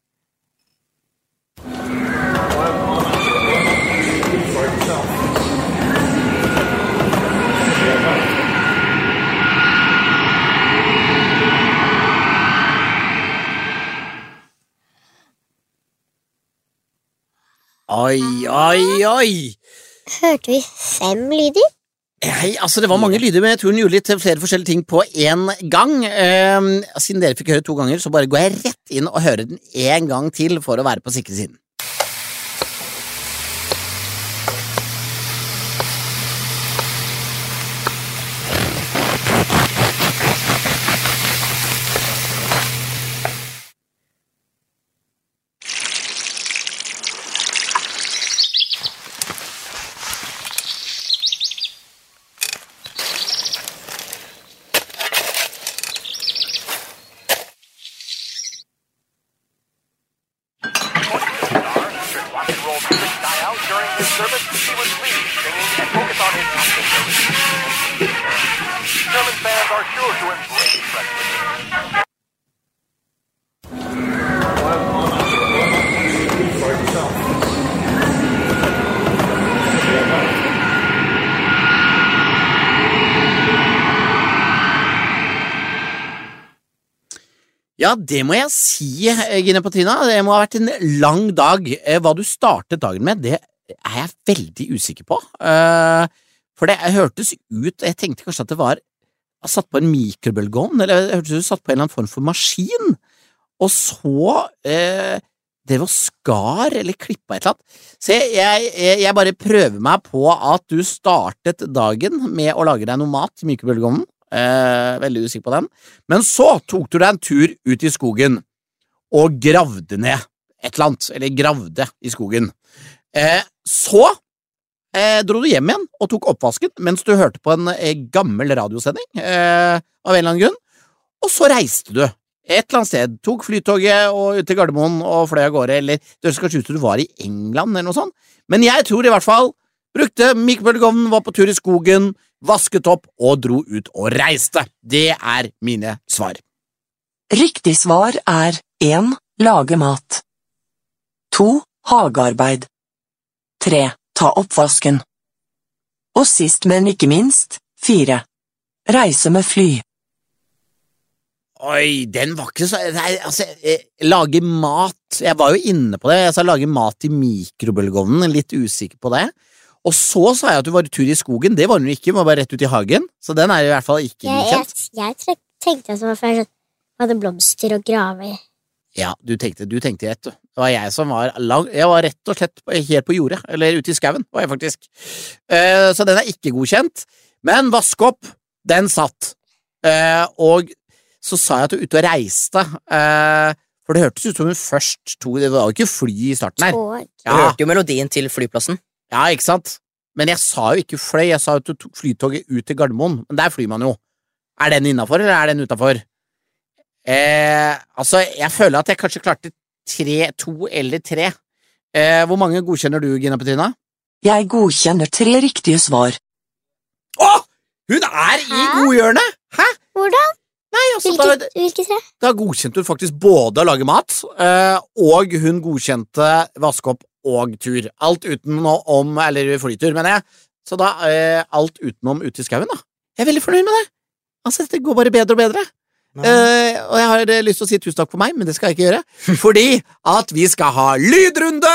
Oi, oi, oi! Hørte vi fem lyder? Nei, altså Det var mange lyder, men jeg tror hun gjorde litt flere forskjellige ting på én gang. Ehm, siden dere fikk høre to ganger, så bare går jeg rett inn og hører den én gang til for å være på sikre siden. Should rock and roll music die out during his service, he would leave singing and focus on his acting. German fans are sure to embrace wrestling. Ja, det må jeg si, eh, Gine Patrina. Det må ha vært en lang dag. Eh, Hva du startet dagen med, det er jeg veldig usikker på. Eh, For det hørtes ut Jeg tenkte kanskje at det var satt på en mikrobølgeovn, eller det hørtes ut som du satt på en eller annen form for maskin, og så eh, det var skar eller klippa et eller annet. Se, jeg, jeg, jeg bare prøver meg på at du startet dagen med å lage deg noe mat i mikrobølgeovnen. Eh, veldig usikker på den. Men så tok du deg en tur ut i skogen og gravde ned et eller annet, eller gravde i skogen. Eh, så eh, dro du hjem igjen og tok oppvasken mens du hørte på en eh, gammel radiosending eh, av en eller annen grunn, og så reiste du. Et eller annet sted. Tok flytoget og ut til Gardermoen og fløy av gårde, eller det høres kanskje ut som du var i England eller noe sånt, men jeg tror i hvert fall brukte mikrobølgeovnen, var på tur i skogen, vasket opp og dro ut og reiste. Det er mine svar. Riktig svar er 1. Lage mat 2. Hagearbeid 3. Ta oppvasken Og sist, men ikke minst 4. Reise med fly Oi, den var ikke så Nei, altså, eh, lage mat Jeg var jo inne på det. Jeg sa lage mat i mikrobølgeovnen, litt usikker på det. Og så sa jeg at du var i tur i skogen. Det var hun ikke, hun var bare rett ut i hagen. Så den er i hvert fall ikke Jeg, godkjent. jeg, jeg tre- tenkte at det var først sånn hadde blomster og graver. Ja, du tenkte, du tenkte rett, du. Det var jeg som var lang... Jeg var rett og slett på- helt på jordet, eller ute i skauen, var jeg faktisk. Eh, så den er ikke godkjent. Men vaskopp, den satt. Eh, og så sa jeg at du var ute og reiste, eh, for det hørtes ut som hun først tok Det var jo ikke fly i starten her. Tog. Du Ja, hørte jo melodien til flyplassen. ja, ikke sant? Men jeg sa jo ikke fløy, jeg sa jo at du tok flytoget ut til Gardermoen, men der flyr man jo. Er den innafor, eller er den utafor? Eh, altså, jeg føler at jeg kanskje klarte tre, to eller tre. Eh, hvor mange godkjenner du, Gina Petrina? Jeg godkjenner tre riktige svar Å! Hun er i Hæ? godhjørnet! Hæ? Hvordan? Nei, altså, da, Hvilket, hvilket tre? da godkjente hun faktisk både å lage mat, eh, og hun godkjente vaske opp og tur. Alt utenom Eller flytur, mener jeg. Så da eh, alt utenom ute i skauen, da. Jeg er veldig fornøyd med det. Altså, dette går bare bedre og bedre. Eh, og jeg har eh, lyst til å si tusen takk for meg, men det skal jeg ikke gjøre. Fordi at vi skal ha lydrunde!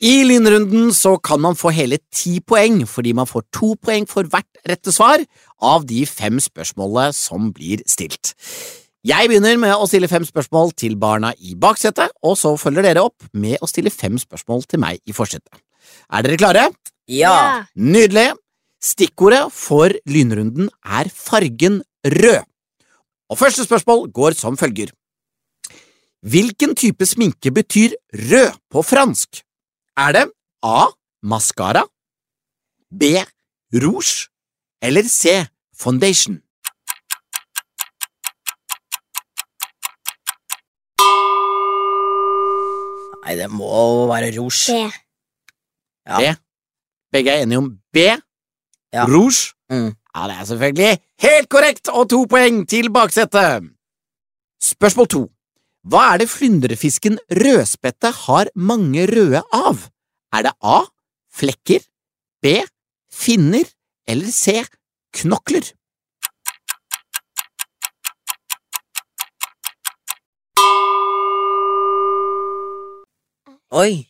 I lynrunden så kan man få hele ti poeng, fordi man får to poeng for hvert rette svar av de fem spørsmålene som blir stilt. Jeg begynner med å stille fem spørsmål til barna i baksetet, og så følger dere opp med å stille fem spørsmål til meg i forsetet. Er dere klare? Ja. Nydelig! Stikkordet for lynrunden er fargen rød. Og første spørsmål går som følger. Hvilken type sminke betyr rød på fransk? Er det A. Maskara B. Rouge eller C. Foundation? Nei, det må jo være rouge. Det. Ja. B. Begge er enige om B. Ja. Rouge. Mm. Ja, det er selvfølgelig helt korrekt, og to poeng til baksetet. Spørsmål to. Hva er det flyndrefisken rødspette har mange røde av? Er det A. Flekker. B. Finner. Eller C. Knokler. Oi.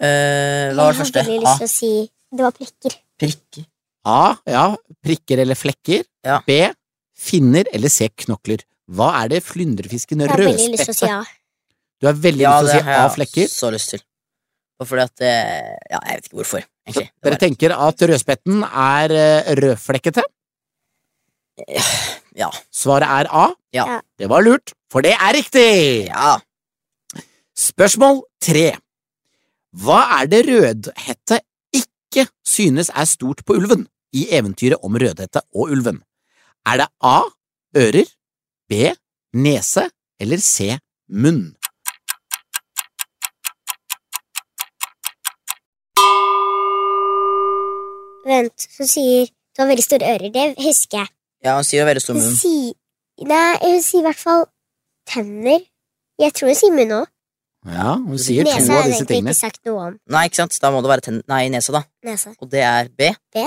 Eh, hva var det første? Ah, Jeg hadde veldig A. lyst til å si det var plekker. Prikker. A. Ja, prikker eller flekker. Ja. B. Finner. Eller C. Knokler. Hva er det flyndrefisken Jeg har veldig lyst til å si rødspette ja. Du har veldig Ja, lyst det til å si har A. jeg Flekker. så lyst til. Og fordi at eh, Ja, jeg vet ikke hvorfor, Så egentlig. Det dere var- tenker at rødspetten er eh, rødflekkete? Eh, ja. Svaret er A. Ja. Ja. Det var lurt, for det er riktig! ja. Spørsmål tre. Hva er det rødhette ikke synes er stort på ulven i eventyret om rødhette og ulven? Er det A. Ører, B. Nese eller C. Munn? Vent, hun sier du har veldig store ører. Det husker jeg. Ja, han sier jo veldig stor Hun munn. sier Nei, hun sier i hvert fall tenner. Jeg tror hun sier munn òg. Ja, hun sier to Nese av har hun disse egentlig tingene. ikke sagt noe om. Nei, ikke sant? Da må det være tenn... Nei, nese, da. Nese. Og det er B. B.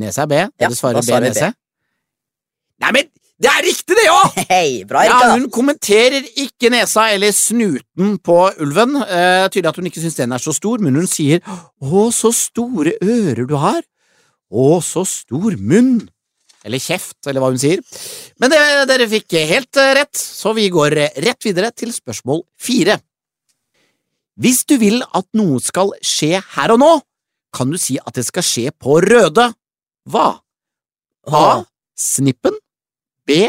Nese er B. Ja, Dere svarer da B, svarer vi B. nese. Nei, men det er riktig, det òg! Hei, bra, Erika! Ja, hun kommenterer ikke nesa eller snuten på ulven. Eh, tydelig at hun ikke syns den er så stor, men hun sier å, så store ører du har. Å, så stor munn. Eller kjeft, eller hva hun sier. Men det, dere fikk helt eh, rett, så vi går eh, rett videre til spørsmål fire. Hvis du vil at noe skal skje her og nå, kan du si at det skal skje på røde. Hva? A. Åh, Snippen. B.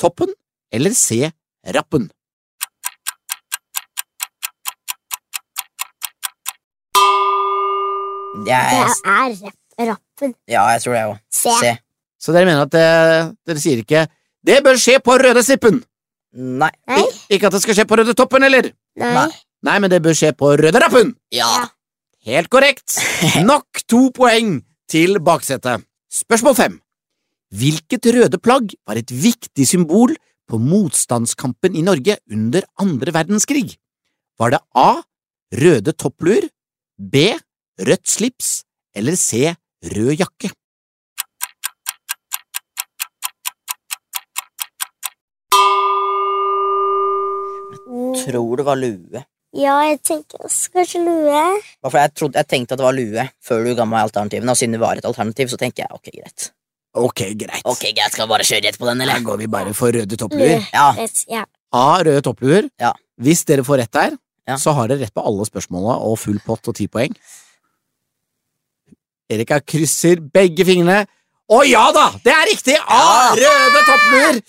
Toppen eller C. Rappen. Det jeg- er rapp- rappen. ja, jeg tror det, jeg òg. Se. Se. Så dere mener at eh, dere sier ikke 'det bør skje på røde snippen'? Nei. Nei. Ikke at det skal skje på røde toppen, eller? Nei. Nei, men det bør skje på røde rappen! Ja. Helt korrekt! Nok to poeng til baksetet. Spørsmål fem. Hvilket røde plagg var et viktig symbol på motstandskampen i Norge under andre verdenskrig? Var det A. Røde toppluer, B. Rødt slips eller C. Rød jakke? Mm. Tror det var lue. Ja, jeg tenker også kanskje lue. Bare fordi jeg, trodde, jeg tenkte at det var lue før du ga meg alternativene, og siden det var et alternativ, så tenker jeg ok, greit. Ok, greit. Ok, greit, Skal jeg bare kjøre rett på den, Da eller? går vi bare for røde toppluer. Ja. Vet- Ja. A. Røde toppluer. Ja. Hvis dere får rett der, Ja. så har dere rett på alle spørsmåla og full pott og ti poeng. Erika krysser begge fingrene. Å ja da! Det er riktig! A. Ja. Røde toppluer!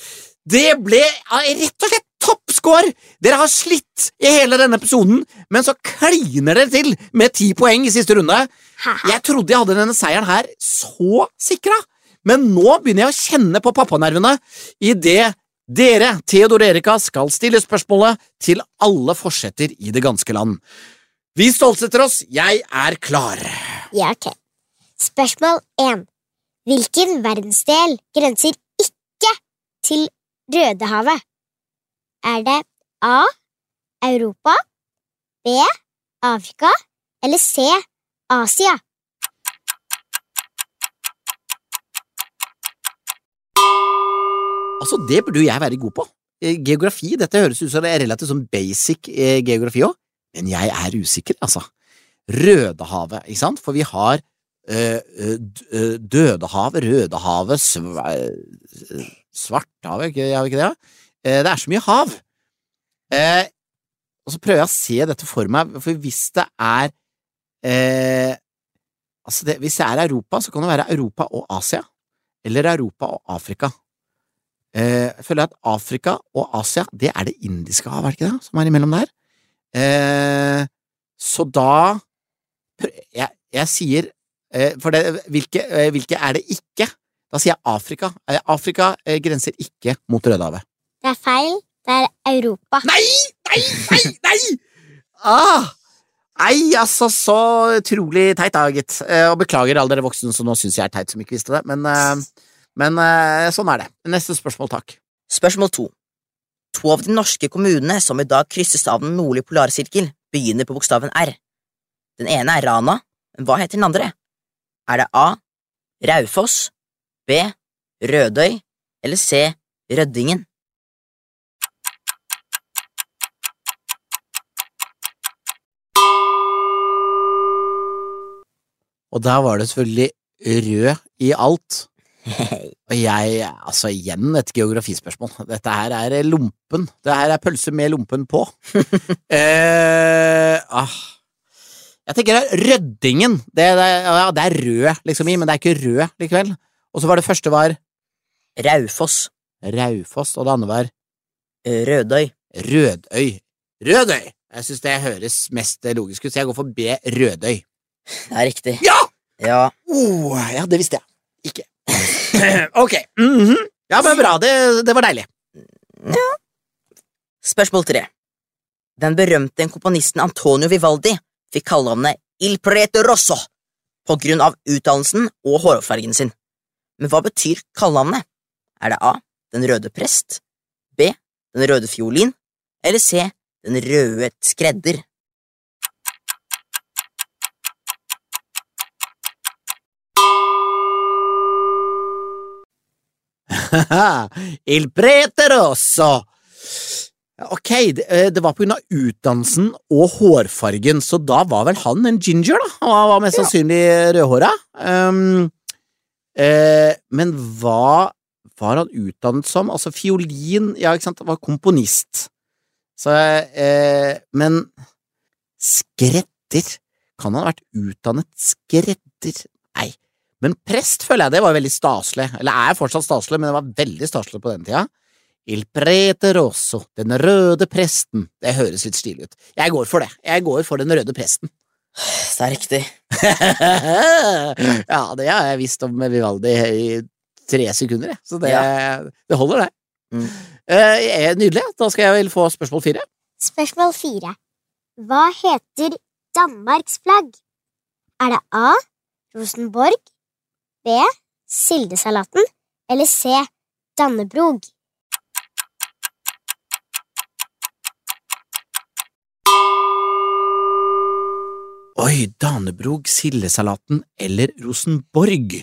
Det ble ah, rett og slett toppscore! Dere har slitt i hele denne episoden, men så kliner dere til med ti poeng i siste runde. Haha. Jeg trodde jeg hadde denne seieren her så sikra, men nå begynner jeg å kjenne på pappanervene idet dere, Theodor og Erika, skal stille spørsmålet til alle forsetter i det ganske land. Vi stoltsetter oss, jeg er klar. Ja, ok. Spørsmål 1. Hvilken verdensdel grenser ikke til Rødehavet? Er det A. Europa B. Afrika eller C. Asia? Altså, det burde jo jeg være god på. Eh, Geografi, dette høres ut som det er relativt sånn basic eh, geografi òg, men jeg er usikker, altså. Rødehavet, ikke sant, for vi har eh, eh, d- eh, Dødehavet, Rødehavet, sv eh, Svarthavet, ikke- har vi ikke det? da? Eh, det er så mye hav. Eh, og så prøver jeg å se dette for meg, for hvis det er eh, Altså, det, hvis det er Europa, så kan det være Europa og Asia. Eller Europa og Afrika. Eh, jeg føler at Afrika og Asia, det er det indiske hav, er det ikke det, som er imellom der? Eh, så da prø- Jeg, jeg sier eh, For det, hvilke, eh, hvilke er det ikke? Da sier jeg Afrika. Eh, Afrika eh, grenser ikke mot Rødehavet. Det er feil. Det er Europa. Nei! Nei! Nei! Nei! Ah! Nei, altså, så utrolig teit, da, gitt. Eh, og beklager alle dere voksne som nå syns jeg er teit som ikke visste det, men, eh, men eh, sånn er det. Neste spørsmål, takk. Spørsmål to. To av de norske kommunene som i dag krysses av den nordlige polarsirkel, begynner på bokstaven R. Den ene er Rana, men hva heter den andre? Er det A. Raufoss, B. Rødøy eller C. Røddingen? Og der var det selvfølgelig rød i alt. Hei. Og jeg, altså igjen et geografispørsmål. Dette her er lompen. Det her er pølse med lompen på. eh, ah. Jeg tenker det er Røddingen. Det, det, ja, det er rød liksom i, men det er ikke rød likevel. Og så var det første var Raufoss, Raufoss, og det andre var Rødøy. Rødøy. Rødøy! Jeg syns det høres mest logisk ut, så jeg går for B. Rødøy. Det er riktig. Ja! Ja, Oh, ja, det visste jeg ikke. ok. mhm. Ja, men bra. Det, det var deilig. Spørsmål tre. Den berømte komponisten Antonio Vivaldi fikk kallenavnet Il Prete Rosso på grunn av utdannelsen og hårfargen sin. Men hva betyr kallenavnet? Er det A. Den røde prest? B. Den røde fiolin? Eller C. Den røde skredder? Il preterosso! Ok, det, eh, det var på grunn av utdannelsen og hårfargen, så da var vel han en ginger, da? Han var mest sannsynlig rødhåra. Um, eh, men hva var han utdannet som? Altså, fiolin Ja, ikke sant, han var komponist. Så eh, Men skredder? Kan han ha vært utdannet skredder? Nei. Men prest føler jeg det var veldig staselig. Eller er fortsatt staselig, men det var veldig staselig på den tida. Il prete rosso, den røde presten. Det høres litt stilig ut. Jeg går for det. Jeg går for den røde presten. Det er riktig. ja, det har jeg visst om Vivaldi i tre sekunder, jeg. Så det, det holder, det. Mm. Eh, nydelig. Da skal jeg vel få spørsmål fire. Spørsmål fire. Hva heter Danmarks flagg? Er det A. Rosenborg, B. Sildesalaten eller C. Dannebrog? Oi, Danebrog, sildesalaten eller Rosenborg?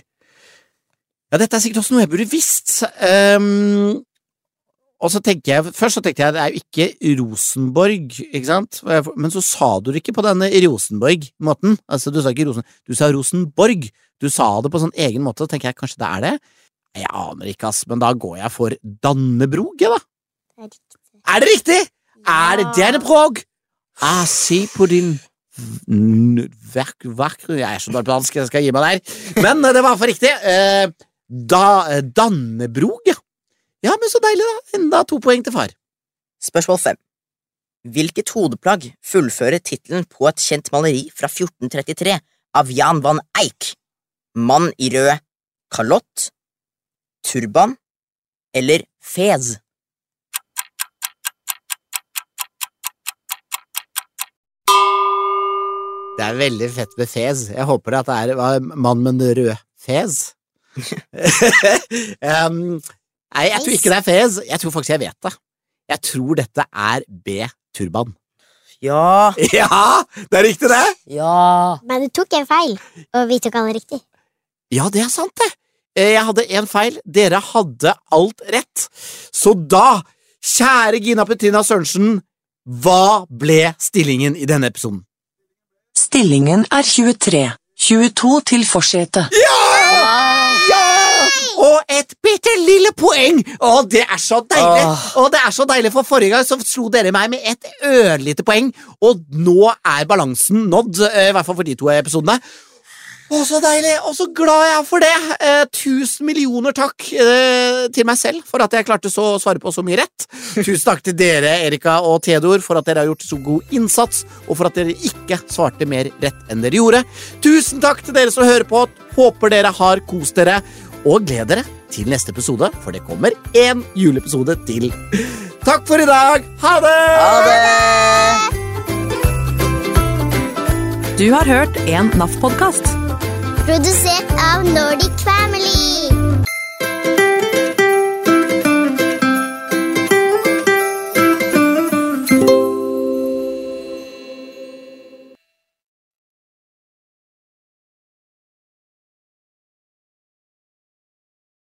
Ja, dette er sikkert også noe jeg burde visst. Ehm, og så tenker jeg, Først så tenkte jeg det er jo ikke Rosenborg, ikke sant? Og jeg- Men så sa du det ikke på denne Rosenborg-måten. Altså, Du sa ikke Rosen, du sa Rosenborg. Du sa det på sånn egen måte, så tenker jeg kanskje det er det. Jeg aner ikke, ass, men da går jeg for Dannebrog, jeg, Det er da. Er det riktig? Er det Dannebrog? Ah, se på din n- vak- vakre Jeg er så dårlig på dansk, jeg skal gi meg der. Men eh, det var for riktig. Eh, Da, eh, Dannebrog, ja. Ja, men så deilig, da. Enda to poeng til far. Spørsmål fem. Hvilket hodeplagg fullfører tittelen på et kjent maleri fra 1433 av Jan van Eyck? Mann i rød kalott, turban eller fez? Det er veldig fett med fes. Jeg håper at det er hva, mann med en rød fes. um, nei, jeg tror ikke det er fes. Jeg tror faktisk jeg vet det. Jeg tror dette er B-turban. Ja, Ja, det er riktig, det! ja Men du tok en feil, og vi tok alle riktig. Ja, det er sant, det. Eh, Jeg hadde én feil. Dere hadde alt rett. Så da, kjære Gina Petrina Sørensen, hva ble stillingen i denne episoden? Stillingen er 23. 22 til forsete. Ja! Og et bitte lille poeng! Å, det er så deilig! Åh. Og det er så deilig, for forrige gang så slo dere meg med et ørlite poeng, og nå er balansen nådd, eh, i hvert fall for de to episodene. Å, så deilig! Og så glad jeg er for det! Eh, tusen millioner takk eh, til meg selv for at jeg klarte så å svare på så mye rett. Tusen takk til dere, Erika og Theodor, for at dere har gjort så god innsats, og for at dere ikke svarte mer rett enn dere gjorde. Tusen takk til dere som hører på. Håper dere har kost dere, og gled dere til neste episode, for det kommer én juleepisode til. Takk for i dag! Ha det! Du har hørt en NAF-podkast. Produsert av Nordic Family.